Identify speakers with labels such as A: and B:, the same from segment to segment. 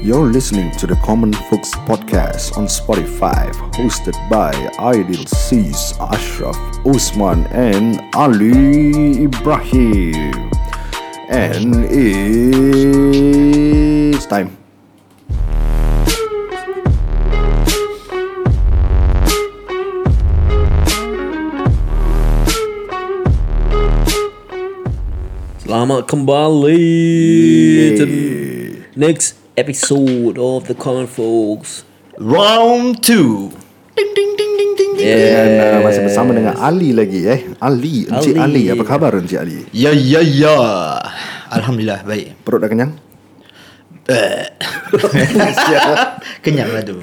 A: You're listening to the Common Folks Podcast on Spotify, hosted by Aidil Sis, Ashraf Usman, and Ali Ibrahim. And it's time.
B: Selamat kembali to next episode of the Common Folks.
C: Round two. Ding ding ding ding ding. ding.
A: Dan uh, masih bersama dengan Ali lagi eh. Ali, Encik Ali.
B: Ali.
A: Apa khabar Encik Ali?
C: Ya ya ya. Alhamdulillah baik.
A: Perut dah kenyang?
C: Kenyang lah tu.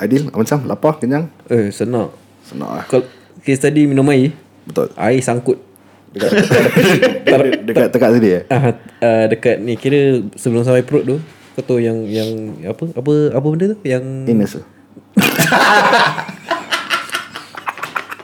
A: Aidil, macam lapar, kenyang?
B: Eh, senak.
A: Senang lah.
B: Kalau kes tadi minum air,
A: Betul.
B: air sangkut.
A: Dekat, dekat, dekat sini eh.
B: Ah, uh, dekat ni kira sebelum sampai perut tu, kau tahu yang yang apa apa apa benda tu yang
A: Ines tu.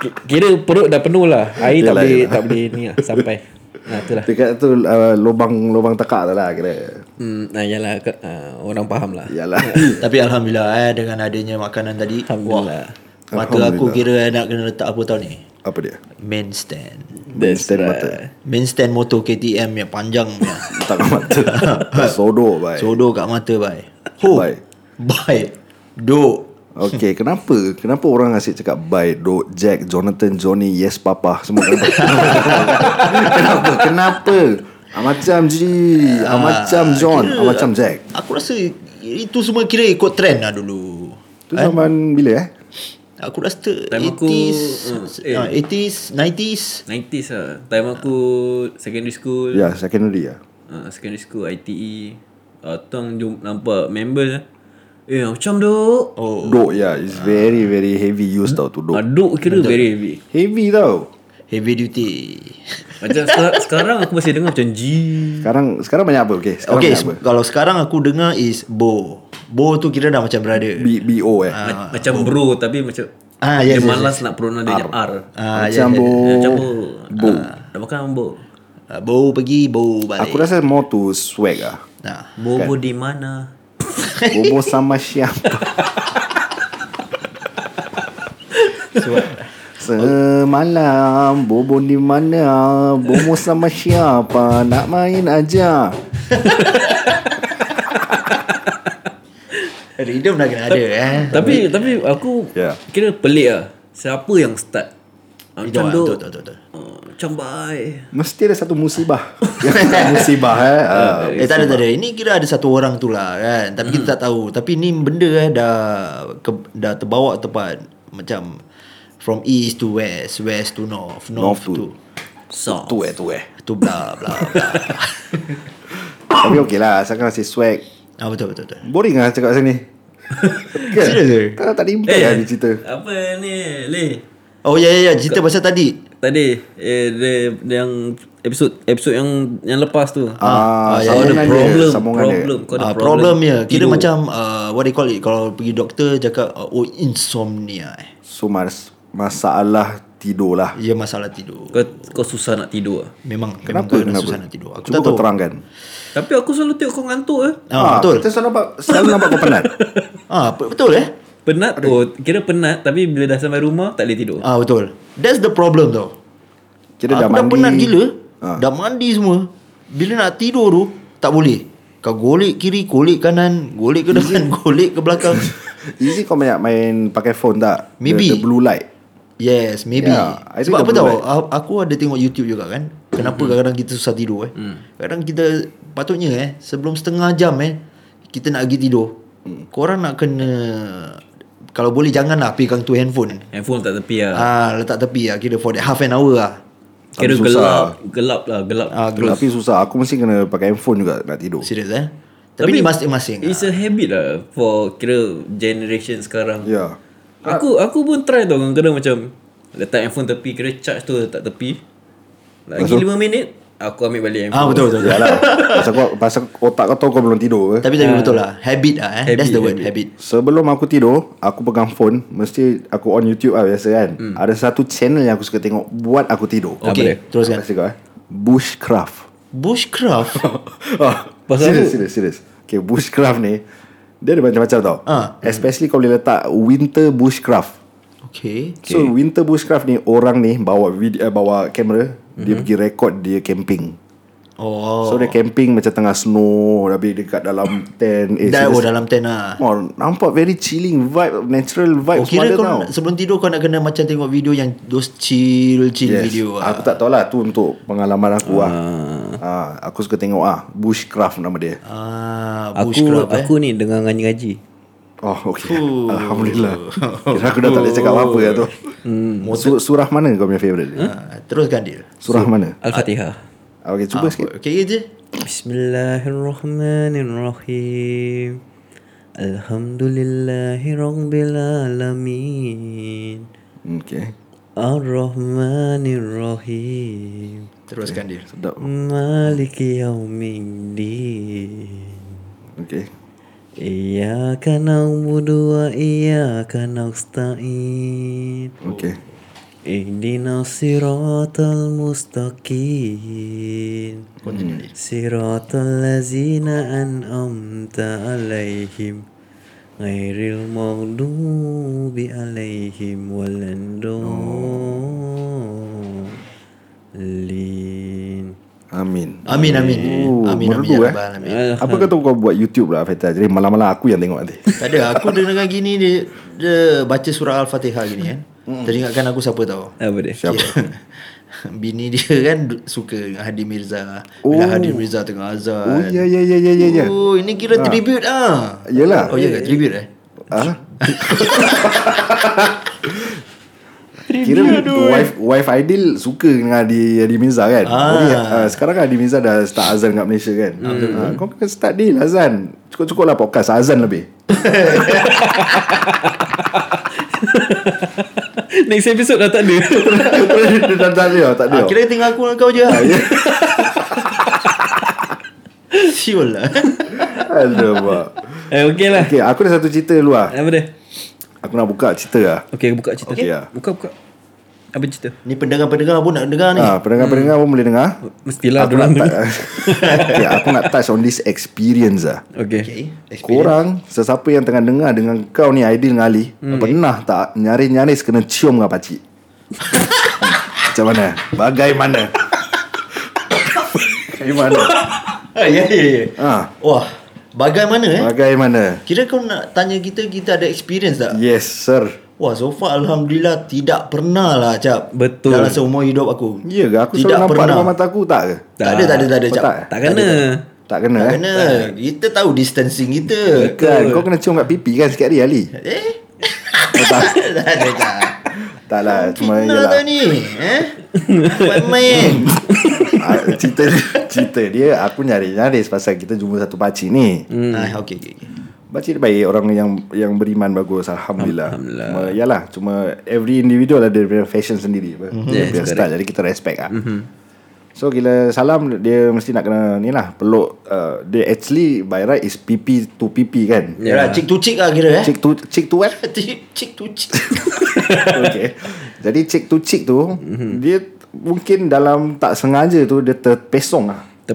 B: ki- kira perut dah penuh lah. Air tak
A: Yelah,
B: boleh
A: yelah.
B: tak boleh ni lah, sampai. lah. Nah, itulah.
A: Dekat tu uh, lubang lubang tekak tu lah kira.
B: Hmm, nah, yalah ke- ah, orang faham lah.
A: Yalah.
C: Tapi alhamdulillah eh dengan adanya makanan tadi.
B: Alhamdulillah.
C: Wah, mata aku kira eh, nak kena letak apa tau ni?
A: Apa dia?
C: Main stand.
B: That's
A: Stand
B: right.
A: mata.
C: Main stand motor KTM yang panjang punya.
A: Tak nak mata. Sodo baik.
C: Sodor kat mata bai.
A: Bye.
C: Bai. Duk.
A: Okay, kenapa? Kenapa orang asyik cakap bye, Dok, Jack, Jonathan, Johnny, Yes, Papa, semua kenapa? kenapa? Kenapa? Ah, macam G, ah, macam John, ah, macam Jack.
C: Aku rasa itu semua kira ikut trend lah dulu.
A: Tu zaman bila eh?
C: Aku rasa
B: Time
C: 80s,
B: aku,
C: eh.
B: eh.
C: 80s, 90s.
B: 90s lah. Time aku secondary school.
A: Ya, secondary lah.
B: uh, secondary school ITE uh, tang jumpa nampak member lah. Eh macam duk.
C: Oh.
A: Dok, ya. It's very, very heavy use tau tu,
B: Oh.
A: Dok.
B: Aduk kira very heavy.
A: Heavy tau.
C: Heavy duty.
B: Macam sekarang, sekarang aku masih dengar macam G.
A: Sekarang sekarang banyak apa? Okay, sekarang
C: Okay,
A: banyak apa?
C: se- kalau sekarang aku dengar is Bo. Bo tu kira dah macam brother.
A: B- BO eh.
B: Ma- macam bro tapi macam
C: Ah,
B: dia
C: yes, yes,
B: malas nak pronoun dia R. R.
C: Ah,
A: macam
C: yes, yes.
A: bo,
B: ya, Macam bo.
A: bo.
B: Ah, dah makan bo.
C: Ah, Bo pergi, Bo balik.
B: Ah,
A: Aku
B: ya,
A: rasa more to swag ah.
C: Nah.
B: Bobo di mana?
A: Bobo sama siapa? Semalam Bobo di mana? Bobo sama siapa? Nak main aja.
C: Rhythm dah kena ada eh.
B: Tapi tapi aku
A: Ya.
B: kira pelik lah. Siapa yang start? Ah,
C: Itu
B: Macam
C: lah,
B: duk.
C: betul, betul, betul.
B: Ah, Macam bye.
A: Mesti ada satu musibah. musibah eh. Ah.
B: ya.
C: Eh tak ada tak ada Ini kira ada satu orang tu lah kan Tapi
A: Hmm.
C: kita tak tahu Tapi ni benda eh Dah ke, Dah terbawa tepat Macam From east to west West to north
A: North
C: North,
A: to-
C: to
B: So.
A: Tu eh, tu eh.
C: To blah blah blah
A: Tapi okey lah. Sekarang masih swag.
C: ah, Betul betul betul
A: Boring lah cakap sini. Kan?
C: Serius ke?
A: Tak, tak ada
C: eh,
A: impact lah dia cerita.
B: Eh, Apa ni? Leh.
C: Oh ya ya ya Cerita pasal tadi
B: Tadi eh, dia, dia yang episod episod yang yang lepas tu.
A: Ah,
B: kau ya, ada
A: sambungan dia,
B: problem,
A: sambungan dia.
B: problem, kau ada
C: Ah,
B: problem.
C: problem ya Kira macam uh, What they call it Kalau pergi doktor Cakap uh, Oh insomnia eh.
A: So mas masalah tidur lah.
C: Ya masalah tidur
B: Kau kau susah nak tidur. ah.
C: Memang
A: Kenapa?
C: memang kau
A: kenapa?
C: Susah nak tidur Aku
A: Cuba
C: tak tahu
A: kau terangkan.
B: Tapi aku selalu tengok kau ngantuk eh.
C: ah, Betul
A: Kita selalu nampak, selalu nampak kau penat.
C: ah, pe- Betul eh
B: Penat oh, kira penat tapi bila dah sampai rumah tak boleh tidur.
C: Ah betul. That's the problem tau.
A: Kira
C: aku
A: dah mandi.
C: penat gila.
A: Ha.
C: Dah mandi semua. Bila nak tidur tu tak boleh. Kau golek kiri, golek kanan, golek ke depan, golek ke belakang.
A: Easy kau banyak main pakai phone tak?
C: Maybe.
A: The, the blue light.
C: Yes, maybe.
A: Yeah, I think
C: Sebab apa
A: dah
C: tahu?
A: boleh.
C: a- Aku ada tengok YouTube juga kan. Kenapa kadang-kadang kita susah tidur eh?
A: Mm.
C: Kadang kita patutnya eh sebelum setengah jam eh kita nak pergi tidur.
A: Mm.
C: Korang nak kena kalau boleh janganlah pegang tu handphone.
B: Handphone tak tepi lah.
C: Ah letak tepi lah kira for that half an hour lah.
B: Kira
A: Tapi
B: gelap,
A: susah.
B: gelap lah, gelap.
C: Ah,
A: Terus. Tapi susah. Aku mesti kena pakai handphone juga nak tidur.
C: Serius eh Tapi, ni masing-masing
A: Eh,
B: It's a habit lah for kira generation sekarang.
A: Ya. Yeah.
B: Aku aku pun try tau kadang-kadang macam letak handphone tepi kira charge tu letak tepi. Lagi 5 minit aku ambil balik handphone.
C: Ah betul betul. betul.
A: Yalah. pasal, kau, pasal otak kau tahu kau belum tidur ke?
C: tapi tapi betul lah. Habit lah eh.
B: Habit,
C: That's the word habit.
A: Sebelum aku tidur Aku pegang phone Mesti aku on YouTube lah biasa kan hmm. Ada satu channel yang aku suka tengok Buat aku tidur
B: Apa
C: Okay,
B: dia?
C: teruskan.
A: Apa cakap eh Bushcraft
C: Bushcraft.
A: ah,
B: Pasal
A: serius,
B: apa?
A: serius, serius Okay, bushcraft ni Dia ada macam-macam tau
C: Ah.
A: Especially kau boleh letak Winter bushcraft
C: Okay.
A: So winter bushcraft ni Orang ni bawa video, eh, bawa kamera Dia pergi record dia camping
C: Mhm. Oh.
A: So dia camping macam tengah snow Habis dekat dalam tent eh,
C: Dah oh,
A: serious.
C: dalam tent lah.
A: Oh, nampak very chilling vibe Natural vibe
C: Oh, kira
A: semua ada
C: kau
A: tau.
C: nak, sebelum tidur kau nak kena macam tengok video yang those chill chill yes. video
A: Aku
C: lah.
A: tak tahu lah Tu untuk pengalaman aku lah Ah, Aku suka tengok ah Bushcraft nama dia
C: Ah,
B: Aku
C: bushcraft eh.
B: aku ni dengan ngaji-ngaji.
A: Oh okay Alhamdulillah Kira aku dah tak boleh cakap apa-apa lah tu
C: Hmm.
A: Sur- Surah mana kau punya favourite dia?
C: Ah, teruskan dia.
A: Surah mana Ah,
B: Al-Fatihah.
A: Okay
C: Ah,
A: cuba sikit
C: Okay je.
B: Bismillahirrahmanirrahim. Alhamdulillahirabbil alamin.
A: Okay
B: Ar-Rahmanir-Rahim.
C: Teruskan dia.
A: Sedap
B: Maliki yaumiddin.
A: Okay
B: Iyyaka na'budu wa iyyaka nasta'in.
A: Okay
B: Ihdinas siratal mustaqim.
C: Continue dia.
B: Siratal ladzina an'amta 'alaihim. Ghairil maghdubi 'alaihim waladdallin.
A: Amin
C: Amin amin.
A: Oh,
C: amin amin.
A: merdu, eh.
C: ya Rabbal alamin.
A: Apa kata kau buat YouTube lah Feta Jadi malam-malam aku yang tengok nanti
C: Tak ada Aku dengar gini dia, dia baca surah Al-Fatihah gini kan Teringatkan aku siapa tau
B: Apa dia?
A: Siapa
C: Bini dia kan du- Suka dengan Hadi Mirza Bila
A: Oh.
C: Hadi Mirza tengah azan
A: Oh ya ya ya ya ya ya
C: Oh ini kira tribute ah.
A: Yelah.
C: Oh ya ke tribute eh
A: Ah? Kira wife wife Aidil suka dengan Adi Adi Mirza kan.
C: Ah.
A: Tapi, ah, sekarang kan Adi Mirza dah start azan kat Malaysia kan. Ah, kau kena start deal azan. Cukup-cukup lah podcast azan lebih.
B: Next episode dah tak ada.
A: Dia dah tak ada tau, tak ada.
C: ah,
A: tau.
C: Kira tinggal aku dengan kau je ah.
A: ya.
C: Siul lah
A: Alamak.
B: eh, okay lah.
A: Okay, aku ada satu cerita dulu lah.
B: Apa dia?
A: Aku nak buka cerita lah.
B: Okay, buka cerita.
A: Okey lah.
C: ya.
B: Buka, buka. Apa cerita?
C: Ni pendengar-pendengar pun nak dengar ni
A: Ah, pendengar-pendengar pun boleh dengar.
B: Mestilah
A: aku
B: dorang
A: nak
B: dulu.
A: ta- okay, aku nak touch on this experience lah.
B: Okay. okay.
C: Okay Experience.
A: Korang Sesiapa yang tengah dengar Dengan kau ni Aidil dengan Ali hmm. Pernah tak Nyaris-nyaris kena cium dengan pakcik Macam mana Bagaimana Bagaimana
C: ah, Ya ya ya
A: ha,
C: Wah Bagaimana eh
A: Bagaimana
C: Kira kau nak tanya kita Kita ada experience tak
A: Yes sir
C: Wah so far Alhamdulillah Tidak pernah lah Cap
B: Betul.
C: Dalam seumur hidup aku
A: Ya ke aku
C: Tidak
A: selalu nampak
C: pernah
A: depan mata aku tak ke
C: tak ada, tak ada, tak ada,
A: Kau
C: Cap.
A: tak?
B: Tak kena.
A: Tak kena
C: Tak
A: eh
C: kena. Kita tahu distancing kita.
A: Kan kau kena cium kat pipi kan Sikit hari Ali
C: Eh? tak ada, tak.
A: Tak lah Cuma
C: Fitnah tau
A: ialah
C: ni. Eh? Buat main.
A: ah, Cerita Cerita dia Aku nyaris-nyaris Pasal kita jumpa satu pakcik ni
C: Hmm. Ah, okay, okay. okay.
A: Pakcik dia baik Orang yang yang beriman bagus Alhamdulillah, Alhamdulillah. Cuma, Yalah Cuma every individual Ada dia punya fashion sendiri apa. Dia
B: Yes,
A: punya style Jadi kita respect lah mm-hmm. So gila salam Dia mesti nak kena Ni lah Peluk uh, Dia actually By right is pipi to pipi kan yeah.
C: Yalah, cik tu cik lah kira eh.
A: Cik to Cik to what?
C: Cik, cik tu cik.
A: okay. Jadi cik to cik tu mm-hmm. Dia Mungkin dalam Tak sengaja tu Dia terpesong lah
C: Ah,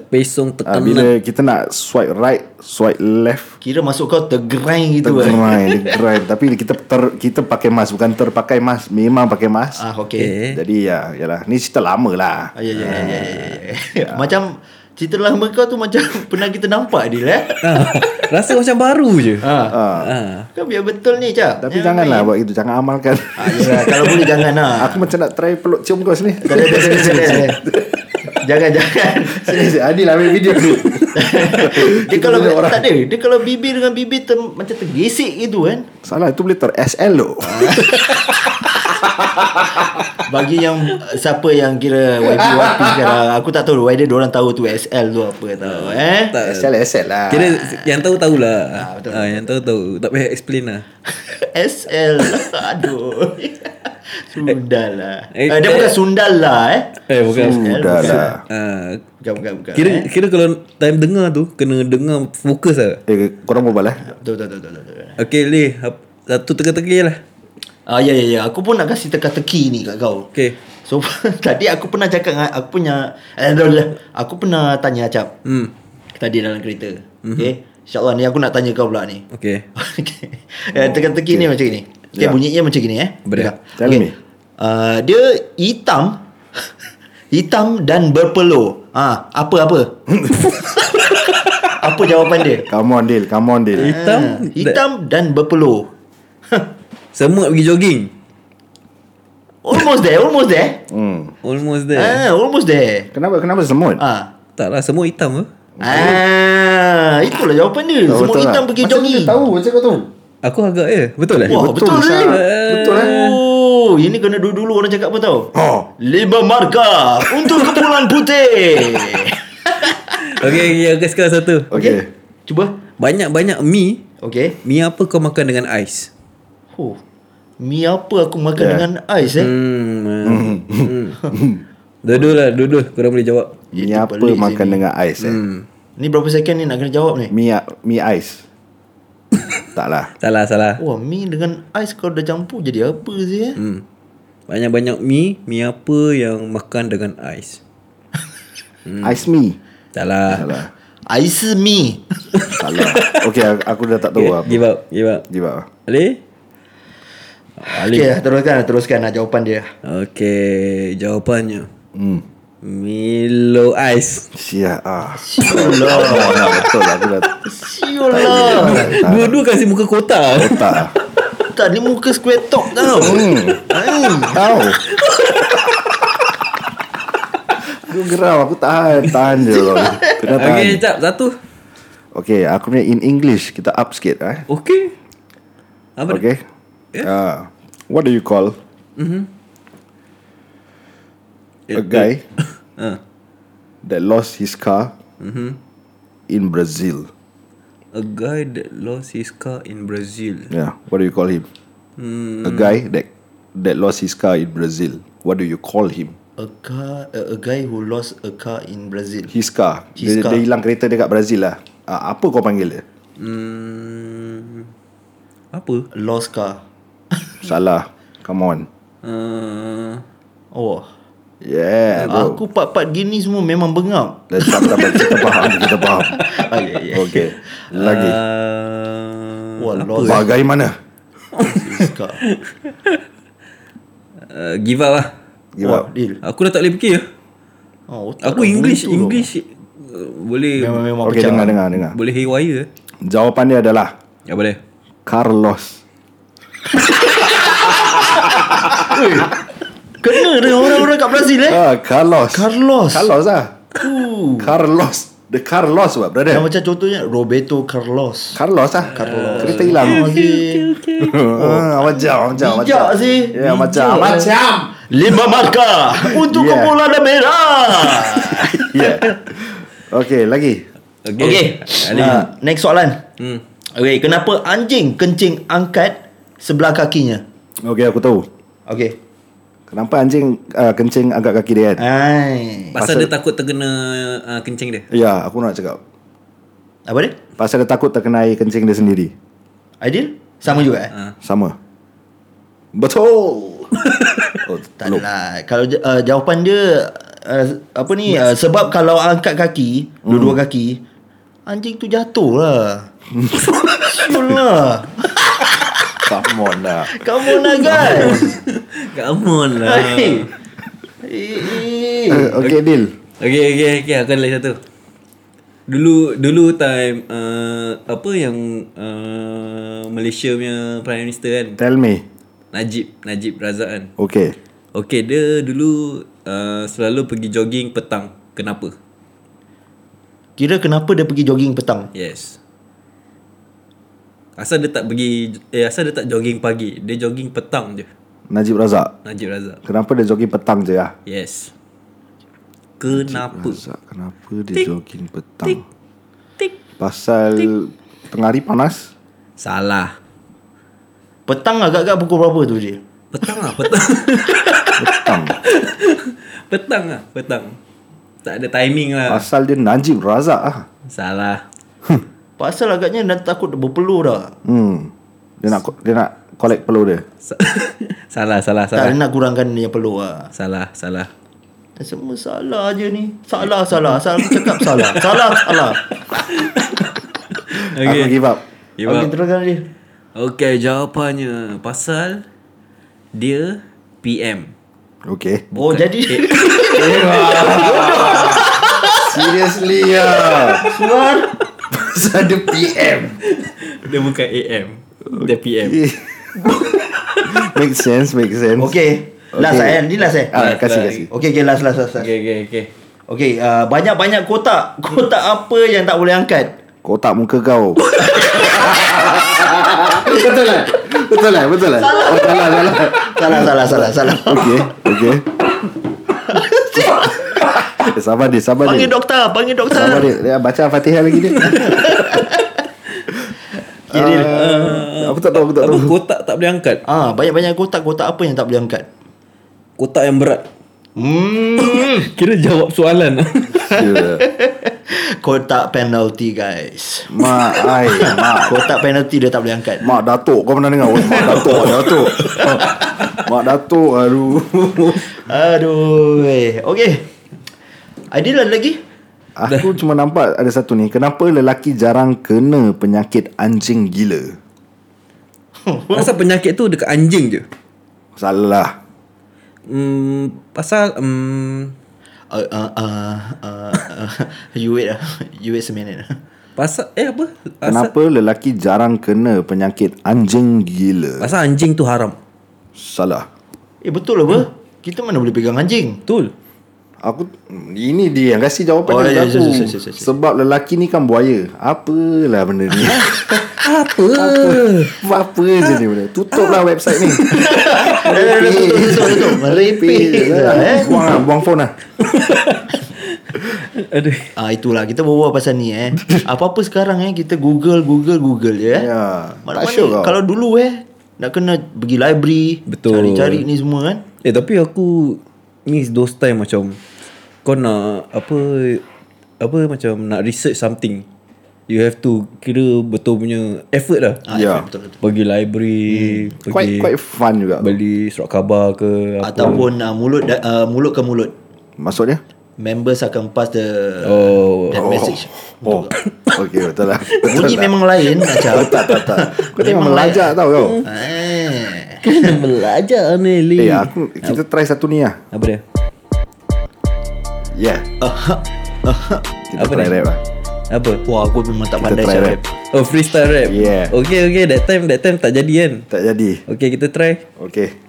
A: uh,
B: Terpesong tekanan.
A: Bila kita nak Swipe right Swipe left
C: Kira masuk kau tergerang gitu eh.
A: Tergerai dia gerai Tapi kita ter, kita pakai mask Bukan terpakai mask Memang pakai mask
C: Ah, okay.
B: Okay.
A: Jadi ya Yalah Ni cerita lama lah
C: Ah, ya, ya, ya, ya, ya, ya. Macam cerita lama kau tu macam pernah kita nampak dia eh.
B: Ah, rasa macam baru je.
C: Ha.
B: Ah.
C: Kau biar betul ni, Cap.
A: Tapi janganlah buat itu Jangan amalkan
C: Ah, yalah, kalau boleh jangan lah.
A: Aku macam nak try peluk cium kau sini
C: Tak ada, tak ada, tak ada, tak ada. Jangan, jangan.
A: Sini sini Adil ambil video dulu
C: Dia kalau tak ada, dia kalau bibir dengan bibir ter, macam tergesek gitu kan.
A: Salah itu boleh ter SL lo
C: Bagi yang eh, siapa yang kira YB-YB sekarang, lah. aku tak tahu why dia orang tahu tu SL tu apa tau eh.
B: Tak.
A: SL SL lah
B: Kira yang tahu tahulah.
C: Ah,
B: Ah,
C: betul,
B: yang tahu tahu. Tak payah explain lah.
C: SL. Aduh. Sundal lah.
B: Eh,
C: Eh, dia bukan sundal lah eh.
B: Eh bukan.
A: Sudah lah
B: Ah,
C: Bukan, bukan, bukan.
B: kira
C: eh.
B: kira kalau time dengar tu kena dengar fokus lah.
A: Eh korang berbual lah
C: Betul, betul, betul, betul. betul.
B: Okay Lee hap- Satu teka-teki lah
C: Ah, ya, ya, ya. Aku pun nak kasih teka-teki ni kat kau.
B: Okay
C: So tadi aku pernah cakap dengan aku punya eh, dah, dah. aku lah. pernah tanya Acap.
B: Hmm
C: Tadi dalam kereta. Mm-hmm. Okay. InsyaAllah ni aku nak tanya kau pula ni
B: Okay.
C: okay. Eh, Teka-teki ni macam ni Okay
A: Ya.
C: bunyinya macam ni eh
B: Boleh.
C: Dengar.
A: Tell me.
C: Uh, Dia hitam Hitam dan berpeluh ha, Apa-apa Apa jawapan dia
A: Come on Dil, come on Dil.
B: Hitam,
C: Ah, Hitam dan berpeluh
B: Semut pergi jogging.
C: Almost there Almost there
A: Hmm.
B: Almost there.
C: ah, Almost there
A: Kenapa kenapa semut?
C: ah.
B: Tak lah, semut hitam ke?
C: ah, Itulah jawapan dia
A: Tahu
C: Semua
A: betul
C: hitam
A: tak?
C: pergi
A: Macam
C: jogging
A: mana tahu, macam kau tahu.
B: Aku agak ya. Betul lah?
C: Wah betul,
A: betul,
C: betul
A: Syah. Betul, eh?
C: Oh, ini kena dulu-dulu orang cakap apa tau.
A: Oh.
C: Lima markah untuk kepulan putih.
B: Okay, okay, aku sekarang satu.
C: Oh.
A: Okey.
C: Cuba.
B: Banyak-banyak mi.
C: Okey.
B: Mi apa kau makan dengan ais?
C: Oh. Mi apa aku makan
A: Yeah.
C: dengan ais eh?
B: Hmm. hmm. hmm. Dudul lah, dudul. Korang boleh jawab.
A: Mi
C: Itu
A: apa
C: pelik
A: makan
C: sini.
A: dengan ais eh?
B: Hmm.
C: Ni berapa second ni nak kena jawab ni?
A: Mi mi ais. Taklah.
B: Salah, salah.
C: Wah, mi dengan ais kalau dah campur jadi apa sih eh?
B: Hmm. Banyak-banyak mi. Mi apa yang makan dengan ais? lah.
A: Ais mi.
B: Salah.
A: Taklah.
C: Ais mi.
A: Taklah. Okey, aku, aku dah tak lah, tahu
B: Okay,
A: apa.
B: give up, give up.
A: Give up.
B: Ali?
C: Okey, teruskan, teruskan lah jawapan dia.
B: Okay, jawapannya.
A: Hmm.
B: Milo Ice.
A: Sia ah.
C: Siulah.
A: Oh, nah, betul lah aku dah
C: Siulah.
A: lah.
B: Dua-dua kasih muka kotak.
A: tak.
C: Tak, ni muka square top tau.
A: Hmm.
C: Hai.
A: Tahu. Aku geram aku tahan tahan je kau. Kena tahan.
B: Okay, jap. Satu.
A: Okey, aku punya in English kita up sikit eh.
B: Okay. Apa okay.
A: Okay. Uh, what do you call
C: Mm-hmm.
A: a guy
B: Uh,
C: Ah.
A: that lost his car
C: Mm-hmm.
A: in Brazil?
B: a guy that lost his car in Brazil.
A: Yeah. What do you call him? A
C: Mm.
A: guy that that lost his car in Brazil. What do you call him?
C: A car, a, a guy who lost a car in Brazil.
A: His car.
C: His
A: dia,
C: car.
A: dia hilang kereta dekat Brazil lah. Uh, apa kau panggil dia?
B: Hmm. Apa?
C: Lost car.
A: Salah. Come on.
B: Uh,
C: Oh.
A: Yeah, bro.
C: Eh, Aku part-part gini semua memang bengap.
A: Dah tak tak tak- kita faham, kita faham.
C: Ah, ya, ya. Ah,
A: Okay. Lagi. Hmm.
B: Uh,
C: Wah, lost
A: Bagaimana?
C: his car.
B: uh, give up lah.
A: Give
C: Wah,
A: up.
C: deal.
B: Aku dah tak boleh fikir.
C: Oh, otak
B: Aku
C: dah
B: English,
C: buntu
B: English uh, boleh
C: tau. Memang memang
A: Okay,
C: pecah.
A: dengar, dengar, dengar.
B: boleh haywire.
A: Jawapan dia adalah
B: Ya boleh.
A: Carlos.
C: Kena dengan orang-orang kat Brazil eh.
A: Ah, Carlos.
C: Carlos.
A: Carlos ah. Carlos. The Carlos what, brother?
C: Yang macam contohnya Roberto Carlos.
A: Carlos ah. Carlos. Kereta hilang.
C: Azim.
A: Ah, macam, macam, macam.
C: Bijak sih.
A: Ya, macam,
C: Bijak, eh.
A: macam. Ya.
C: Lima markah untuk
A: Yeah.
C: yeah. kepulauan merah.
A: Yeah. Okay, Ya. lagi.
B: Okay.
C: Okey.
B: Ali.
C: Ah, next soalan.
B: Hmm.
C: Okey, kenapa anjing kencing angkat sebelah kakinya?
A: Okay, aku tahu.
C: Okey.
A: Kenapa anjing ah, kencing agak kaki dia kan?
C: Ai.
B: Pasal,
A: Pasal-
B: dia takut terkena uh, kencing dia.
A: Ya, aku nak cakap.
C: Apa dia?
A: Pasal dia takut terkena air kencing dia sendiri.
C: Aidil? Sama juga eh?
B: Ah.
A: Sama. Betul. oh,
C: Tak adalah. Kalau uh, jawapan dia uh, apa ni uh, sebab kalau angkat kaki, dua-dua kaki, anjing tu jatuh lah. Sure lah.
A: Come on lah.
C: Kamu lah guys.
B: Come on lah.
C: Hai. Eh, eh.
A: Uh, okay, Dil.
B: Okay, okay, okay. Aku ada lagi satu. Dulu dulu time uh, apa yang uh, Malaysia punya Prime Minister kan
A: Tell me.
B: Najib Najib Razak kan
A: Okay.
B: Okay dia dulu uh, selalu pergi jogging petang Kenapa?
C: Kira kenapa dia pergi jogging petang?
B: Yes Asal dia tak pergi eh, Asal dia tak jogging pagi Dia jogging petang je
A: Najib Razak.
B: Najib Razak
A: Kenapa dia jogging petang je lah?
B: Yes Kenapa?
A: Razak, kenapa dia jogging petang? Pasal tengah hari panas?
B: Salah
C: Petang agak-agak pukul berapa tu dia?
B: Petang lah petang
A: Petang.
B: Petang lah petang Tak ada timing lah
A: Pasal dia Najib Razak ah.
B: Salah
C: Pasal agaknya dah takut dia berpeluh dah.
A: Hmm. Dia nak dia nak collect peluh dia.
B: Sa- Salah salah
C: Tak
B: salah
C: dia nak kurangkan dia peluh lah.
B: Salah salah
C: Semua salah je ni. Salah, salah. Salah, cakap salah. Salah, salah.
A: Aku give up.
B: Give
C: okay,
B: up.
C: teruskan dia.
B: Okay, jawapannya pasal dia PM.
A: Okay.
C: Oh, jadi
A: Seriously ya. Suar. Pasal dia PM.
B: Dia bukan AM. Dia PM.
A: make sense, make sense.
C: Okay. Last
A: Okay.
C: okay. eh. Ni last eh.
A: Ah, kasih kasih.
C: Okay, okay, last last last. last.
B: Okay, okay, okay.
C: Okey, uh, banyak-banyak kotak. Kotak apa yang tak boleh angkat?
A: Kotak muka kau. betul lah. Betul lah, betul lah. Oh, salah, salah.
C: Salah, salah, salah, salah.
A: Okay, okay. Eh, sabar dia, sabar
C: Panggil
A: dia.
C: doktor, panggil doktor.
A: Sabar dia. dia baca Al-Fatihah lagi dia.
C: Kiri dia.
A: Ah, aku tak tahu, aku tak
B: Apa
A: tahu.
B: kotak tak boleh angkat?
C: Ah, banyak-banyak kotak, kotak apa yang tak boleh angkat?
B: Kotak yang berat.
C: Hmm.
B: Kira jawab soalan.
A: Yeah.
C: kotak penalty, guys.
A: Mak, ai, mak.
C: Kotak penalty dia tak boleh angkat.
A: Mak Datuk kau pernah dengar Oi, Mak Datuk Mak Datuk Mak Datuk Aduh
C: Aduh. eh. Okey. Adil ada lagi?
A: Aku cuma nampak ada satu ni Kenapa lelaki jarang kena penyakit anjing gila
B: Pasal penyakit tu dekat anjing je.
A: Salah
B: Hmm, pasal hmm,
C: Uh, uh, uh, uh, uh, you wait lah. You wait a minute.
B: pasal eh apa? Pasal,
A: Kenapa lelaki jarang kena penyakit anjing gila
B: pasal anjing tu haram.
A: Salah
C: Eh, betul lah, apa? Kita mana boleh pegang anjing?
B: Betul.
A: Aku Ini dia yang kasih jawapan oh,
C: Oh, ya,
A: aku
C: ya, ya, ya, ya, ya.
A: Sebab lelaki ni kan buaya Apalah benda ni
B: Apa?
A: Buat apa je ni benda Tutuplah website ni
C: Eh, tutup, tutup, tutup. Merepek lah, eh.
A: Buang lah Buang phone lah
B: Aduh.
C: Ah itulah kita berbual pasal ni eh. Apa-apa sekarang eh kita Google Google Google je eh.
A: Ya,
C: Mana
A: tak sure
C: mana
A: kau.
C: kalau dulu eh nak kena pergi library,
B: Betul.
C: cari-cari ni semua kan.
B: Eh tapi aku miss those time macam kau nak apa apa macam nak research something. You have to kira betul punya effort lah.
C: Ah,
A: Ya.
C: betul betul.
B: Pergi library, hmm. pergi
A: Quite quite fun juga
B: beli surat khabar ke apa.
C: Ataupun uh, mulut da- uh, mulut ke mulut.
A: Maksudnya
C: Members akan pass the
B: Oh.
C: that message.
A: Oh Okay betul lah Betul
C: Bunyi
A: lah.
C: memang lain macam.
A: Tak tak tak Kau tengok
C: Memang
A: melajak tau kau
C: Hmm. Eh.
B: Kena belajar ni
A: Eh
B: Lee.
A: aku Kita try satu ni lah
B: Apa dia?
A: Yeah Kita
B: Apa
A: try
B: ni?
A: rap lah
B: Apa?
C: Wah, aku memang tak pandai
A: try eh.
C: cakap.
A: rap.
B: Oh freestyle rap.
A: Yeah.
B: Okay okay that time that time tak jadi kan.
A: Tak jadi
B: Okay kita try.
A: Okay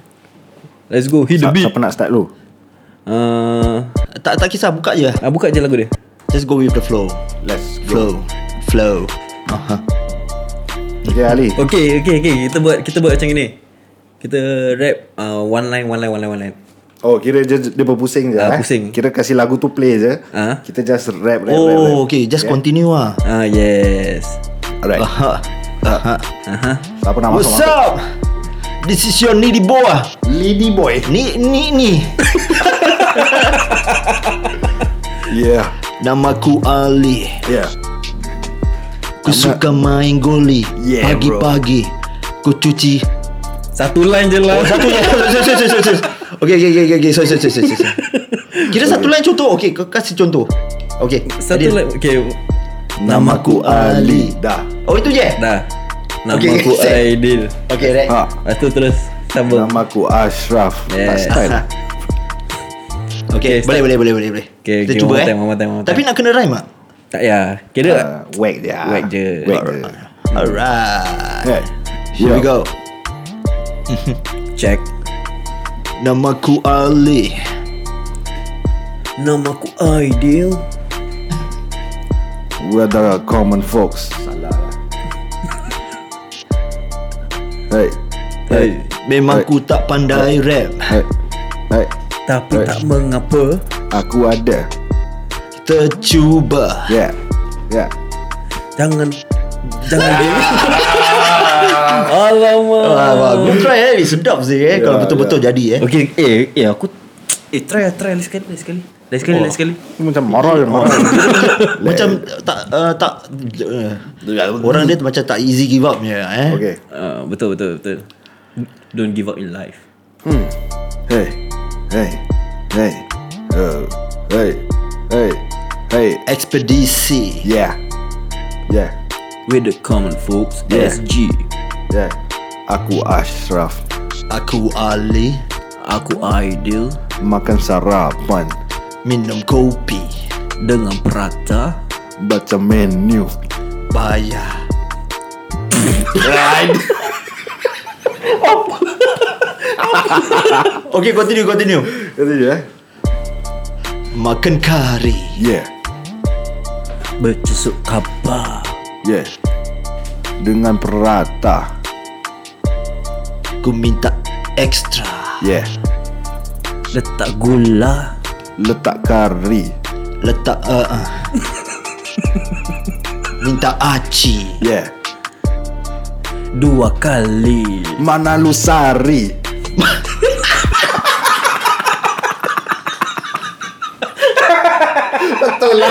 B: Let's go hit
A: Sa-
B: the beat.
A: Siapa nak start dulu
B: Uh,
C: Tak tak kisah buka je.
B: ah, buka je lagu dia.
C: Just go with the flow.
A: Let's
C: Flow. Flow. Aha.
A: Okay Ali
B: Okay, okay, okay. Kita buat kita buat macam ni. Kita rap uh, one line, one line, one line, one line.
A: Oh kira je, dia berpusing je
B: Ah,
A: eh?
B: pusing.
A: Kira kasih lagu tu play je
B: Ah.
A: Kita just rap rap rap, rap. Ya?
C: Oh, okay, just continue ah.
B: Ah, yes.
A: Alright
C: Aha. Aha.
A: Siapa nak masuk
C: What's up? This is your needy boy. ah.
A: Lady boy
C: Ni ni ni.
A: Yeah
C: Namaku Ali.
A: Yeah
C: Ku suka main goli.
A: Yeah, bro.
C: Pagi-pagi ku cuci.
B: Satu line je lah.
C: Oh, satu je. Sorry, sorry, sorry, sorry. Okay, okay, okay, okay, okay. Sorry, sorry, sorry, sorry. sorry. Kira satu lain contoh. Okay, kau kasih contoh. Okay.
B: Satu
C: Adil.
B: line. Okay.
C: Namaku Ali.
A: Dah
C: Oh, itu je.
B: Dah. Nama
C: Okay,
B: aku
C: set.
B: Aidil.
C: Okay, right.
A: ha.
B: Lepas tu terus sambung.
A: Nama aku Ashraf Tak
B: Yeah.
A: style
B: Okay,
C: Ha. Okay,
B: start.
C: boleh, boleh, boleh, boleh, boleh.
B: Okay, okay,
C: Kita
B: one
C: cuba
B: more
C: eh.
B: time, one more time, one more
C: Tapi
B: time.
C: nak kena rhyme ah. tak?
B: Tak ya. Kira
A: uh, Whack je
B: Whack je.
A: Whack je
C: Alright.
A: Yeah.
C: Here we go.
B: check.
C: Namaku Ali.
B: Nama aku Aidil.
A: We're the common folks Salah lah Hey
B: Hey.
C: Eh, Memang ku tak pandai rap
A: Hey Hey Hey.
B: Tapi tak mengapa.
A: Aku ada
C: Tercuba
A: Yeah Yeah
B: Jangan jangan dia.
A: Ah.
B: Alamak.
C: Wah, wah,
B: Ah.
C: Aku try eh Sedap sih eh Kalau
B: Ya,
C: betul-betul jadi eh
B: Okay, eh, eh aku eh try lah, try lah sekali, lain sekali. Lain sekali, lain sekali.
A: Ni macam ya, marah je marah
C: Macam tak uh, tak uh, Orang dia macam tak easy give up je eh
A: Okay
B: Uh, betul, betul, betul. Don't give up in life.
A: Hmm Hey Hey Hey uh, Hey Hey Hey
C: Ekspedisi
A: Yeah Yeah
D: With the common folks
A: Yeah.
D: SG
A: Yeah. Aku Ashraf
C: Aku Ali
D: Aku Aidil
A: Makan sarapan
C: Minum kopi
D: Dengan Prata
A: Baca menu
C: Bayar Okay continue continue
A: Itu je eh
C: Makan kari
A: Yeah
D: Bercusuk kapa
A: Yeah Dengan perata
C: Ku minta ekstra
A: Yeah
D: Letak gula
A: Letak kari
C: Letak uh, uh. Minta aci
A: Yeah
D: Dua kali
A: Mana lu sari Betul lah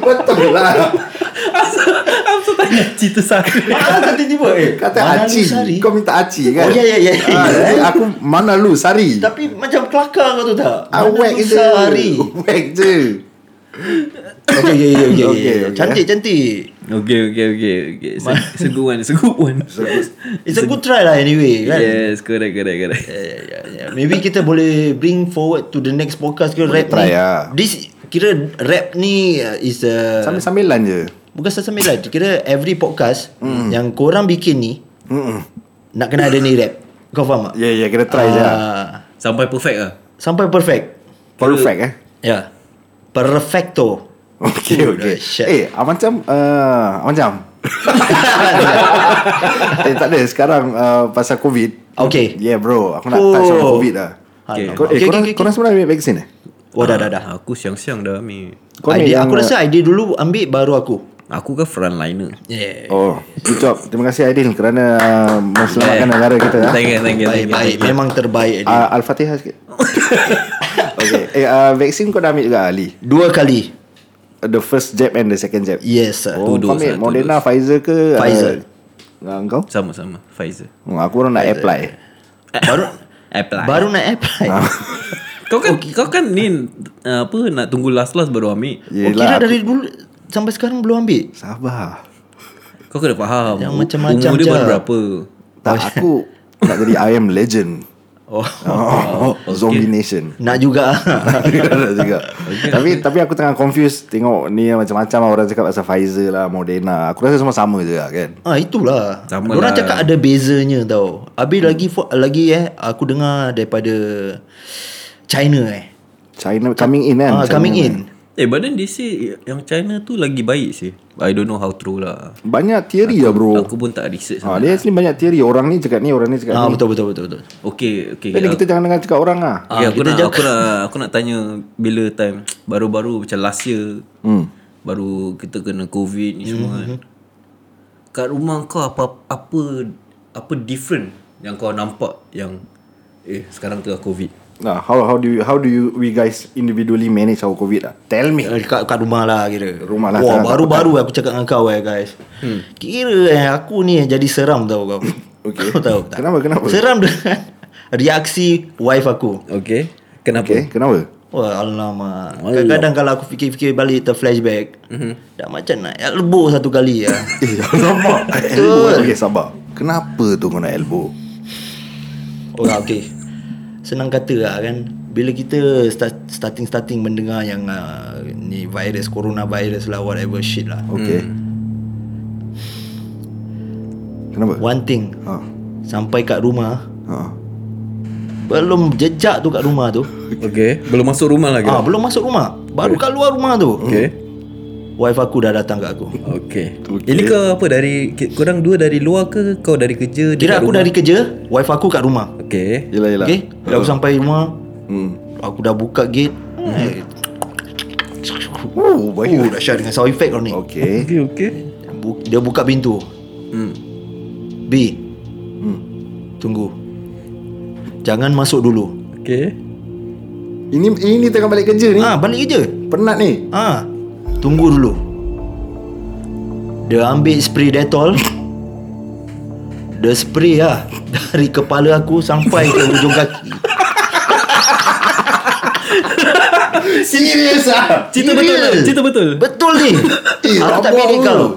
A: Betul lah
B: Cita sari
C: Ah, tiba-tiba eh.
A: Kata
C: Mana
A: Aci
C: lu sari?
A: Kau minta Aci kan
C: Oh, ya, ya, ya.
A: Ah, jadi Aku mana lu sari
C: Tapi macam kelakar kau tu tak
A: Awek Ah,
C: Mana lu
A: je
C: sari
A: Awek je
C: Okay okay okay, okay,
A: Okay,
C: okay,
A: okay.
C: Cantik cantik
B: Okay okay okay, okay. It's, a, it's a good one It's a good one
C: It's a good try lah anyway kan
B: Yes correct correct correct
C: Yeah, yeah, yeah. Maybe kita boleh bring forward to the next podcast kira rap
A: try
C: ni.
A: lah.
C: This kira rap ni uh, is a
A: Sambil-sambilan je
C: bukan sambil kira every podcast
A: Hmm.
C: mm. yang korang bikin ni
A: Mm-mm.
C: nak kena ada ni rap. Kau faham tak?
A: Ya ya kita try je lah.
C: Ah,
B: Sampai perfect lah
C: Sampai perfect.
A: Perfect eh
C: Ya. Yeah. Perfecto.
A: Okay okay
C: shit.
A: Eh Abang Cam uh, Abang Cam Eh tak ada Sekarang uh, pasal covid
C: Okay.
A: Yeah bro Aku nak touch on
C: Oh.
A: covid lah
C: Okay.
A: Kau, eh,
C: Okay,
A: korang,
C: okay, okay.
A: korang semua dah ambil vaksin eh?
C: Oh dah dah dah.
B: Ah, Aku siang-siang dah ambil
A: Kau ambil
C: Idea,
A: yang-
C: aku rasa idea dulu ambil baru aku.
B: Aku kan frontliner
C: Yeah.
A: Oh Good job Terima kasih Aidil Kerana uh, Menyelamatkan
C: Eh,
A: negara kita ah.
B: Thank you thank you
C: Baik
B: thank you,
C: baik
B: thank you.
C: memang terbaik idea.
A: uh, Al-Fatihah sikit Okay eh, uh, Vaksin kau dah ambil juga Ali
C: Dua kali.
A: The first jab and the second jab
C: Yes. sir.
A: Oh, kau
B: Two
A: ambil
B: dose lah, two
A: Moderna, Pfizer ke?
C: Pfizer.
A: Uh, uh, engkau?
B: Sama-sama Pfizer
A: Hmm, aku orang nak apply
C: Oh, Baru
B: Apply
C: baru nak apply.
A: Ah,
C: Oh,
B: Kau kan okay. kau kan ni uh, apa nak tunggu last last baru ambil.
C: Oh,
A: Yelah
C: kira
A: aku-
C: dari dulu sampai sekarang belum ambil.
A: Sabar
B: Kau kena faham.
C: Yang
B: u-
C: macam-macam
B: umur dia
C: je.
B: baru berapa?
A: Tak aku Nak jadi I am legend
C: Oh,
A: oh, Zombie Nation
C: nak juga.
A: Ada juga. Tapi tapi aku tengah confused Tengok ni macam-macam lah Orang cakap pasal Pfizer lah Moderna Aku rasa semua sama je lah kan
C: ah itulah.
B: Sama
C: Orang
B: lah.
C: cakap ada bezanya tau. Habis
A: Hmm.
C: lagi fo- lagi eh aku dengar daripada China eh.
A: China coming in kan
C: Ah
A: China
C: coming
A: kan.
C: in.
B: Eh but then they say yang China tu lagi baik sih. I don't know how true lah.
A: Banyak teori lah bro
C: Oh.
B: Aku pun tak research.
A: ha,
B: sangat.
A: Dia actually banyak teori Orang ni cakap ni Orang ni cakap
C: Ah
A: ni
C: betul betul betul betul.
B: Okay, okay.
A: Jadi
B: Aku,
A: kita jangan dengar cakap orang lah
B: okay,
C: Ah,
B: aku
C: kita
B: nak
C: jangan-
B: aku nak aku nak tanya bila time baru-baru macam last year
A: hmm.
B: baru kita kena covid ni semua
C: Mhm.
B: kan. Kat rumah kau apa apa apa different yang kau nampak yang eh sekarang tengah covid.
A: Nah, how how do you how do you we guys individually manage our covid lah? Tell me.
C: Eh, Dekat, dekat rumah lah kira
A: Rumah lah,
C: Wah
A: tak-
C: baru-baru aku cakap dengan kau eh guys hmm. Kira eh aku ni jadi seram tau kau
A: Okay.
C: Kau tahu tak
A: Kenapa, kenapa?
C: Seram dengan reaksi wife aku
B: Okay. Kenapa?
A: Okay, Eh, kenapa?
C: Wah alamak
B: Allah.
C: Kadang-kadang kalau aku fikir-fikir balik Ter-flashback mm-hmm.
B: Mhm.
C: Dah macam nak elbow satu kali ya.
A: Eh, sabar. elbow. Okay, sabar. Kenapa tu kau nak elbow?
C: Orang okay Senang kata lah kan Bila kita start, starting-starting mendengar yang uh, Ni virus, coronavirus lah Whatever shit lah
A: Okay. Kenapa?
C: One thing
A: Ha.
C: Sampai kat rumah
A: Ha.
C: Belum jejak tu kat rumah tu
B: Okay Belum masuk rumah lagi
C: ah, Belum masuk rumah Baru kat luar rumah tu
B: Okay
C: Wife aku dah datang kat aku
B: Okay Ini kau apa dari ki- Korang dua dari luar ke Kau dari kerja
C: Kira aku dari kerja Wife aku kat rumah
B: Okay
A: Yelah, yelah.
C: Okay Bila aku sampai rumah
A: Hmm.
C: Aku dah buka gate
B: Mhm.
C: Eh,
A: Oh, baik.
C: Oh dahsyat dengan sound effect kau ni
A: Okay.
B: Okay okay
C: Bu- Dia buka pintu
B: hmm.
C: B Hmm. Tunggu Jangan masuk dulu
B: Okay
A: Ini ini tengah balik kerja
B: Eh.
A: ni.
C: Ah balik kerja
A: Penat ni.
C: Ah Tunggu dulu Dia ambil spray Dettol Dia spray lah Dari kepala aku sampai ke ujung kaki
A: Serius ah.
B: Cerita betul
C: Serious?
B: tak? Cerita betul Eh,
C: Betul ni
A: Eh,
C: ah? Aku tak
A: rabak
C: pilih
A: tu. Eh,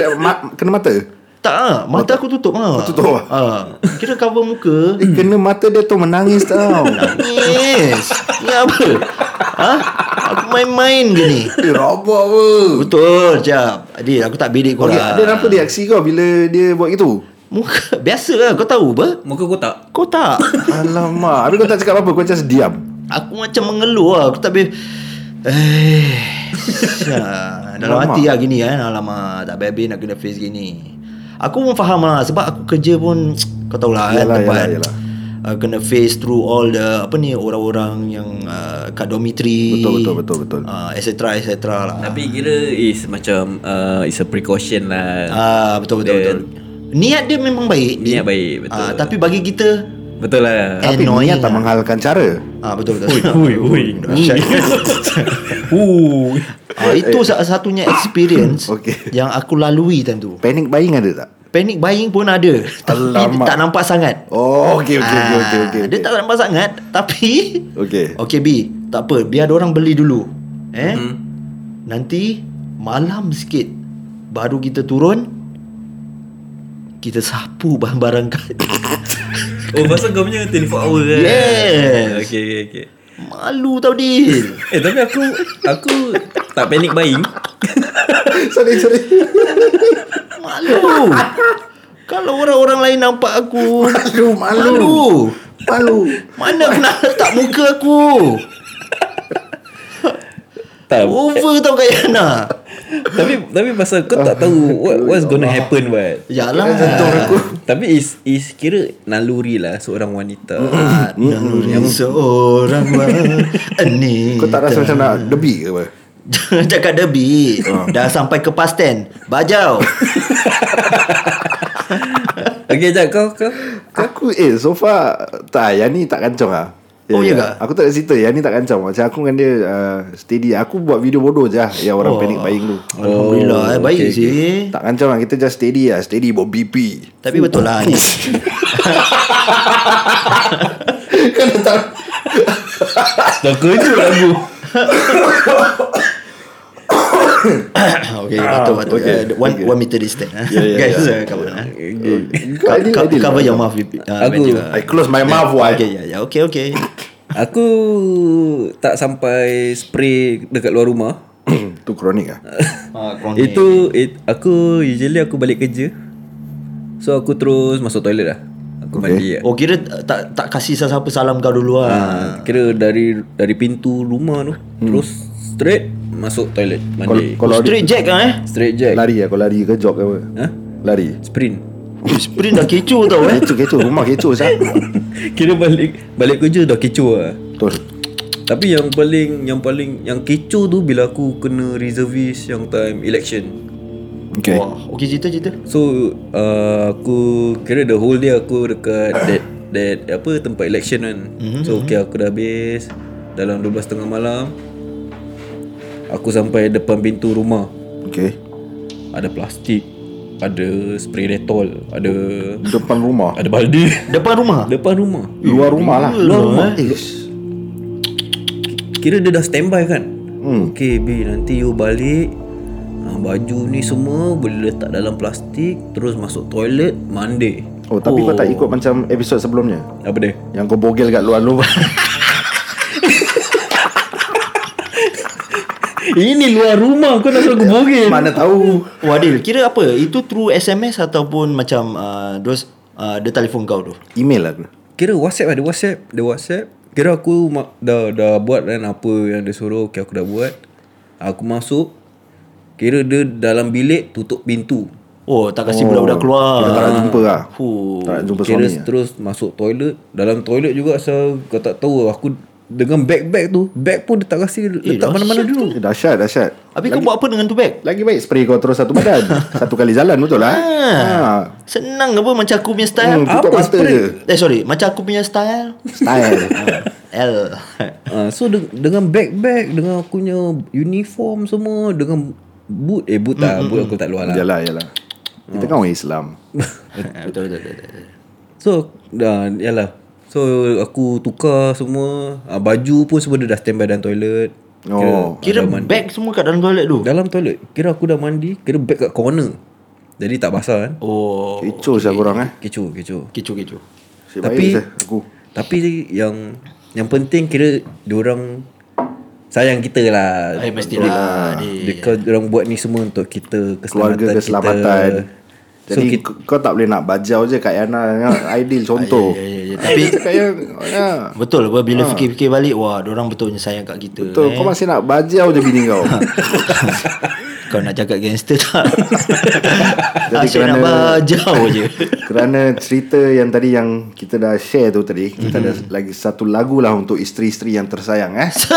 C: kau
A: Ma- kena mata? Eh,
C: Tak ah, mata
B: Oh,
C: aku tutup ah. Aku
A: tutup ah?
C: ah. Kira cover muka.
A: Kena mata dia tu menangis tau.
C: Yes. Ni apa? Ha? Aku main-main ke ni?
A: Eh, rabak apa?
C: Betul, jap. Adik, aku tak bedek korang.
A: Okay, ada apa dia aksi kau bila dia buat gitu?
C: Muka biasa lah, kau tahu apa?
B: Muka kau tak
C: Kau tak.
A: Alamak, habis kau tak cakap apa-apa, kau just diam.
C: Aku macam mengeluh lah. Aku tak habis. Eh, sya. dalam
A: Alamak.
C: hati lah gini kan. Alamak, tak habis-habis nak kena face gini. Aku pun faham lah. Sebab aku kerja pun, kau tahulah kan
A: Yalah,
C: tempat.
A: yalah, yalah.
C: Uh, kena face through all the apa ni orang-orang yang uh, kat dormitory
A: Betul, betul, betul, betul.
C: uh, etc etc lah
B: Tapi kira is macam uh, It's a precaution lah
C: Ah betul betul
B: Then-
C: betul. Niat dia memang baik.
B: Niat baik, betul.
C: Ah tapi bagi kita
B: Betul lah
A: Tapi
C: annoying
A: niat tak
C: lah.
A: menghalalkan cara.
C: Ah betul betul.
B: Ui ui
C: Dahsyat.
B: Ui
C: ah, itu salah satunya experience
A: Okey.
C: yang aku lalui time tu.
A: Panic buying ada tak?
C: Panic buying pun ada. Tapi
A: Alamak.
C: tak nampak sangat.
A: Oh, okey, okey, okey, okey,
C: Ah,
A: okey.
C: Dia tak nampak sangat tapi
A: Okey.
C: Okey B, tak apa, biar orang beli dulu. Eh?
B: Hmm.
C: Nanti malam sikit baru kita turun kita sapu barang-barang kat
B: Oh pasal kau punya 24 hour kan
C: Yes.
B: Okay okay okay
C: Malu tau Din
B: Eh tapi aku Aku tak panic buying
A: Sorry, sorry.
C: Malu Kalau orang-orang lain nampak aku
A: Malu, malu.
C: Malu
A: Malu.
C: Mana aku nak letak muka aku
B: Tak
C: Over tau Kak Yana
B: Tapi tapi pasal kau tak tahu what, What's gonna happen what
C: Yalah
A: Contoh aku.
B: Tapi is is kira naluri lah seorang wanita.
C: Naluri seorang ini
A: Hmm, Kau tak rasa macam nak Ah. debi ke apa?
C: Jangan cakap debi Dah sampai ke pasten Bajau
B: Okey jap kau kau.
A: Aku eh so far tak yang ni tak kancong ah.
C: Oh, ya ke?
A: Aku tak ada cerita Yang ni tak kancang Macam aku dengan dia uh, Steady Aku buat video bodoh je lah Yang orang
C: Oh.
A: panic buying tu
C: Alhamdulillah eh, Baik
B: okay,
C: sih
A: Tak kancang lah Kita just steady lah Steady buat BP
C: Tapi betul lah ni
A: Kan tak
B: Dah kejut aku.
C: Okay betul betul
A: Ah, okay,
C: Uh, one,
A: okay.
C: one meter distance eh.
A: Ya, ya,
C: Guys
A: ya.
C: come on
A: Kau
C: eh.
A: lah.
C: Co-
A: adil,
C: co-
A: adil.
C: cover your mouth with, uh,
B: Aku-
C: Benji.
A: I close my mouth why
C: Okay, yeah, yeah. Okay, okay.
B: Aku tak sampai spray dekat luar rumah.
A: Tu kronik lah
C: Ah, korang ni.
B: Itu it, aku usually aku balik kerja. So aku terus masuk toilet lah. Aku okay. mandi lah.
C: Oh kira tak tak kasih siapa salam kau dulu lah.
A: Ah,
B: Ha, kira dari dari pintu rumah tu terus straight masuk toilet mandi.
A: Kalau
C: Straight jack ah eh.
B: straight je.
A: lari lah Kau lari ke jog ke apa
B: Ha?
A: Lari
B: Sprint.
C: Ui, Sprint dah kecoh tau eh.
A: Kecoh kecoh Rumah kecoh sah
B: kira balik balik kerja dah kecoh lah.
A: Betul
B: Tapi yang paling yang paling yang kecoh tu bila aku kena reservist yang time election.
A: Okay
C: Wah, okey cerita cerita.
B: So uh, aku kira the whole day aku dekat that that apa tempat election kan. Mm-hmm. So okay aku dah habis dalam 12.30 malam. Aku sampai depan pintu rumah.
A: Okay
B: Ada plastik, ada spray Dettol, ada
A: Depan rumah
B: ada baldi
C: Depan rumah.
B: depan rumah.
A: Luar rumah lah
C: Luar rumah.
A: Ish.
B: Kira dia dah standby kan
A: Hmm.
B: hmm. Okay B nanti you balik ha, Baju ni semua boleh letak dalam plastik Terus masuk toilet Mandi
A: Oh tapi kau tak ikut macam episod sebelumnya
B: Apa dia?
A: Yang kau bogel kat luar luar
B: Ini luar rumah kau nak suruh aku bogel
A: Mana tahu
C: Wadil, kira apa? Itu through SMS ataupun macam uh, dos uh, dia telefon kau tu.
A: Email lah aku
B: Kira whatsapp ada whatsapp Ada whatsapp Kira aku ma- dah, dah buat kan apa yang dia suruh Okay aku dah buat Aku masuk Kira dia dalam bilik tutup pintu
C: Oh, tak kasi budak-budak keluar.
A: Kita tak nak jumpa lah
C: Huh.
A: Tak nak jumpa
B: Kira
A: suami eh?
B: suami terus masuk toilet Dalam toilet juga asal Kau tak tahu aku Dengan bag-bag tu Bag pun dia tak kasi Letak mana-mana dulu
A: eh, Dahsyat dahsyat
C: Habis kau buat apa dengan tu bag?
A: Lagi baik spray kau terus satu badan Satu kali jalan betul lah ha.
C: Senang ke apa macam aku punya
A: Hmm,
C: style?
A: tutup
B: Apa
A: mata
B: spray?
A: je
C: Eh sorry, macam aku punya style.
A: Style
C: L.
B: Uh, so de- dengan bag-bag Dengan aku punya uniform semua Dengan boot Eh
A: Mm,
B: boot tak Boot aku tak luar lah
A: Ah. Yalah yalah Kita kan orang Islam
C: betul, betul, betul, betul.
B: So dah Yalah So aku tukar semua uh, Baju pun semua dia dah standby dalam toilet
A: Oh.
C: Kira bag semua kat dalam toilet tu
B: Dalam toilet Kira aku dah mandi Kira bag kat corner Jadi tak basah kan
C: Oh
A: Kecoh saya korang eh
B: Kecoh kecoh
C: Kecoh-kecoh
A: Nasib
B: Tapi-
A: baik saya Aku
B: Tapi yang Yang penting kira Diorang Sayang kita lah
C: Eh mestilah dia-
B: Because orang buat ni semua untuk kita Keselamatan
A: Keluarga keselamatan
B: kita. So
A: Jadi
B: kita,
A: k- kau tak boleh nak bajau je Kak Yana Yang Ideal contoh
C: Ya, ya, ya. Tapi
A: Kak Yana ya.
C: Betul apa bila fikir-fikir balik Wah orang betulnya sayang kat kita
A: Betul
C: eh.
A: Kau masih nak bajau je bini kau
C: Kau nak cakap gangster tak
A: Jadi
C: Asyik nak
A: kerana-
C: bajau je
A: Kerana cerita yang tadi Yang kita dah share tu tadi Kita ada lagi satu lagu lah Untuk isteri-isteri yang tersayang eh
C: Se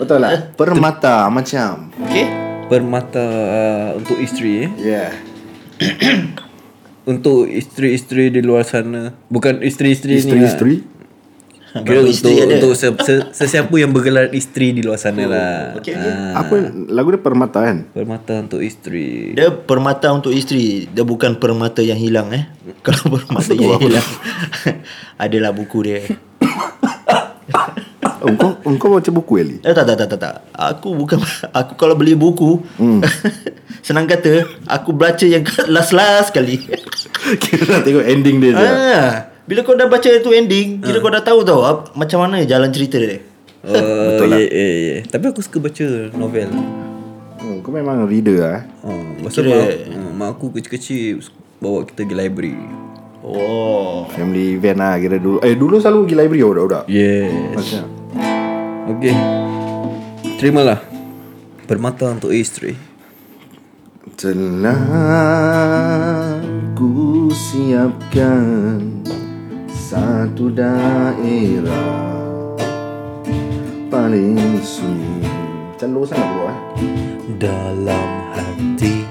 A: Betul lah Permata macam
C: Okay
B: Permata uh, Untuk isteri eh
A: Yeah
B: Untuk isteri-isteri di luar sana Bukan isteri-isteri ni lah.
A: Isteri-isteri
B: Kira
C: Baru
B: untuk,
C: isteri ada. Oh,
B: untuk se, se, sesiapa yang bergelar isteri di luar sana lah
C: okay,
B: Ah,
A: Apa lagu dia permata kan
B: Permata untuk isteri
C: Dia permata untuk isteri Dia bukan permata yang hilang eh Kalau permata yang hilang Adalah buku dia eh.
A: Oh, Engkau, engkau baca buku Eli
C: Eh, tak, tak, tak, tak, tak. Aku bukan Aku kalau beli buku Senang kata Aku baca yang kat last-last kali
A: Kira nak tengok ending dia je
C: ah, Bila kau dah baca itu ending Kira kau dah tahu tau ap- Macam mana jalan cerita dia
B: Oh, Betul lah yeah, yeah, yeah. Tapi aku suka baca novel
A: hmm, Kau memang reader lah eh.
B: oh, Masa
C: Kira-
B: mak, ah, mak aku kecil-kecil Bawa kita pergi library
C: Oh
A: Family event lah kira dulu Eh dulu selalu pergi library budak-budak
B: Yes
A: Macam
B: Okay Terimalah Permata untuk isteri
A: Telah ku siapkan satu daerah paling sunyi Macam low sangat bro eh
D: dalam hati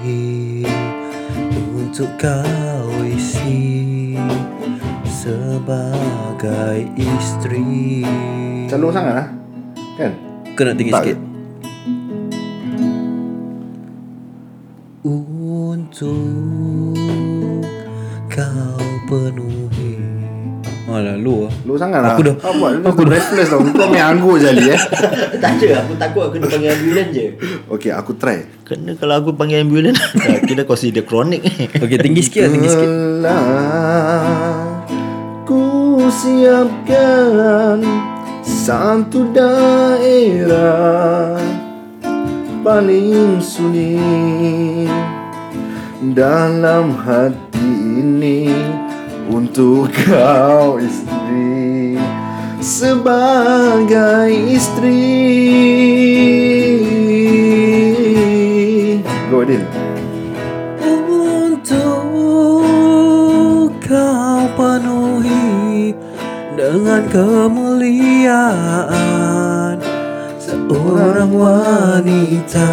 D: untuk kau isi sebagai isteri
A: Macam low sangat lah Kan?
B: Kau nak tinggi
A: Tak
B: sikit
A: ke?
D: untuk kau penuhi
B: Alah low lah
A: Low sangat lah
B: Aku dah-
A: Kau buat Aku dah Restless tau Kau main anggur je Ali eh
C: Tak ada Aku takut aku kena panggil ambulan je
A: Okay aku try
C: Kena kalau aku panggil ambulan dah Kira consider kronik eh.
B: Okay tinggi sikit lah tinggi sikit
A: Telah ku siapkan satu daerah paling sunyi dalam hati ini untuk kau istri sebagai istri. Go Adil.
D: Untuk kau penuhi dengan kemuliaan Seorang wanita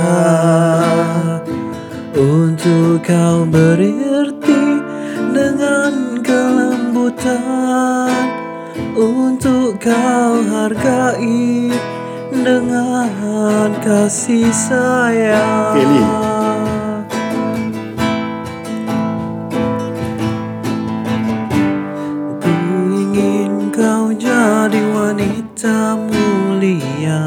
D: Untuk kau bererti dengan kelembutan Untuk kau hargai dengan kasih sayang
A: Okay, Lee.
D: Ku ingin kau jadi wanita mulia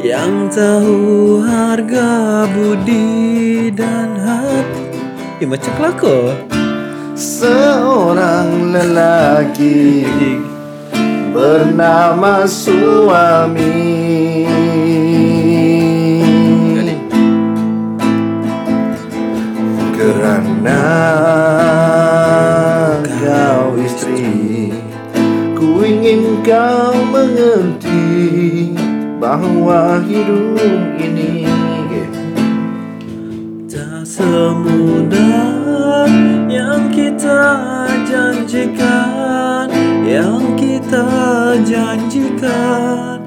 D: Yang tahu harga budi dan hati Ya,
B: Eh macam kelakar
A: Seorang lelaki bernama suami Kerana kau istri Ku ingin kau mengerti Bahawa hidup ini
D: Tak semudah yang kita janjikan Yang kita janjikan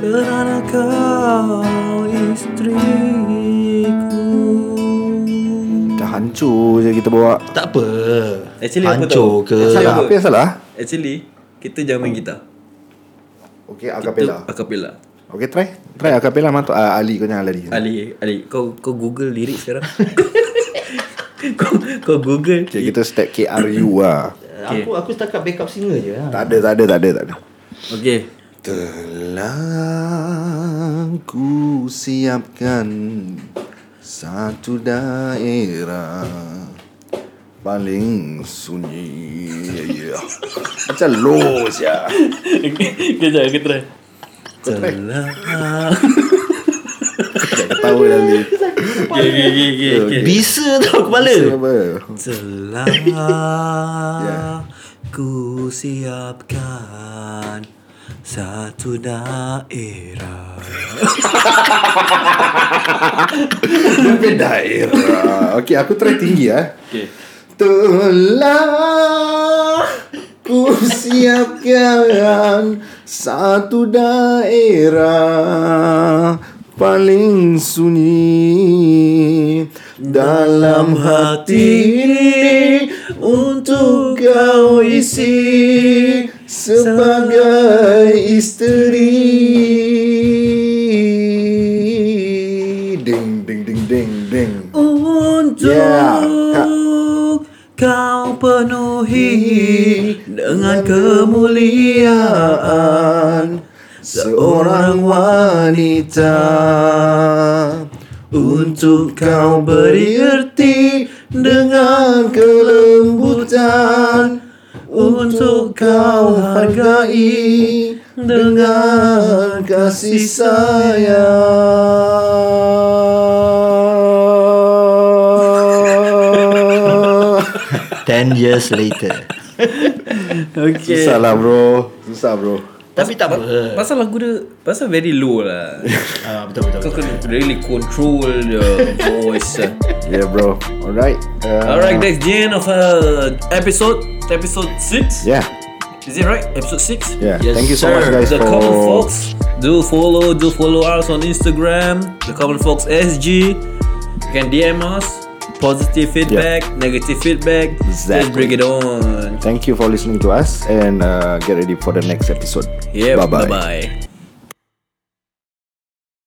D: Kerana kau istriku
A: Dah hancur je kita bawa
C: Tak apa
B: Actually, apa
C: Hancur
B: tahu?
C: ke
B: Actually,
A: Salah, apa yang salah?
B: Actually Kita jangan main gitar
A: Okay,
B: Kita
A: acapella Hmm.
B: acapella
A: Okay, try Try acapella mantu uh, Ali kau jangan lari
B: Ali Ali kau kau Google lirik sekarang. kau kau Google.
A: Okay, kita step KRU lah
C: Aku aku setakat backup singer je lah.
A: Tak ada, tak ada, tak ada, tak ada
B: Okey.
A: Telah ku siapkan Satu daerah paling sunyi. Ya, ya. Macam low sia.
E: Kejap aku try
B: Celah
A: Tak ketawa kali.
E: Okay okay okay, okay, okay.
C: Bisa tau kepala
A: Apa?
D: Telah ku siapkan satu daerah
A: Lebih daerah. Okey, aku try tinggi ah.
E: Okay.
A: Telah ku siapkan satu daerah paling sunyi dalam hati ini untuk kau isi sebagai isteri. Ding ding ding ding ding.
D: untuk
A: Yeah.
D: kau penuhi dengan kemuliaan.
A: kemuliaan seorang wanita untuk kau beri erti dengan kelembutan untuk kau hargai dengan kasih sayang
C: 10 years later
E: Okay
A: Susah lah bro Susah bro
C: Tapi tak apa
B: Pasal lagu dia Pasal very low lah
C: Ah, Betul betul
B: Kau kena really control your voice ah.
A: Yeah bro Alright uh,
B: Alright that's the end of uh, episode Episode 6
A: Yeah
B: Is it right? Episode 6
A: Yeah
E: Yes,
A: Thank you so
E: sir.
A: much guys
B: The
A: for
B: Common Fox. Do follow, do follow us on Instagram, The Common Fox SG. You can DM us. Positive feedback, negative feedback. Let's
A: Exactly.
B: bring it on.
A: Thank you for listening to us And uh, get ready for the next episode
B: Yeah,
A: Bye bye
B: bye.